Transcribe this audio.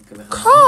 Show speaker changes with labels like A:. A: か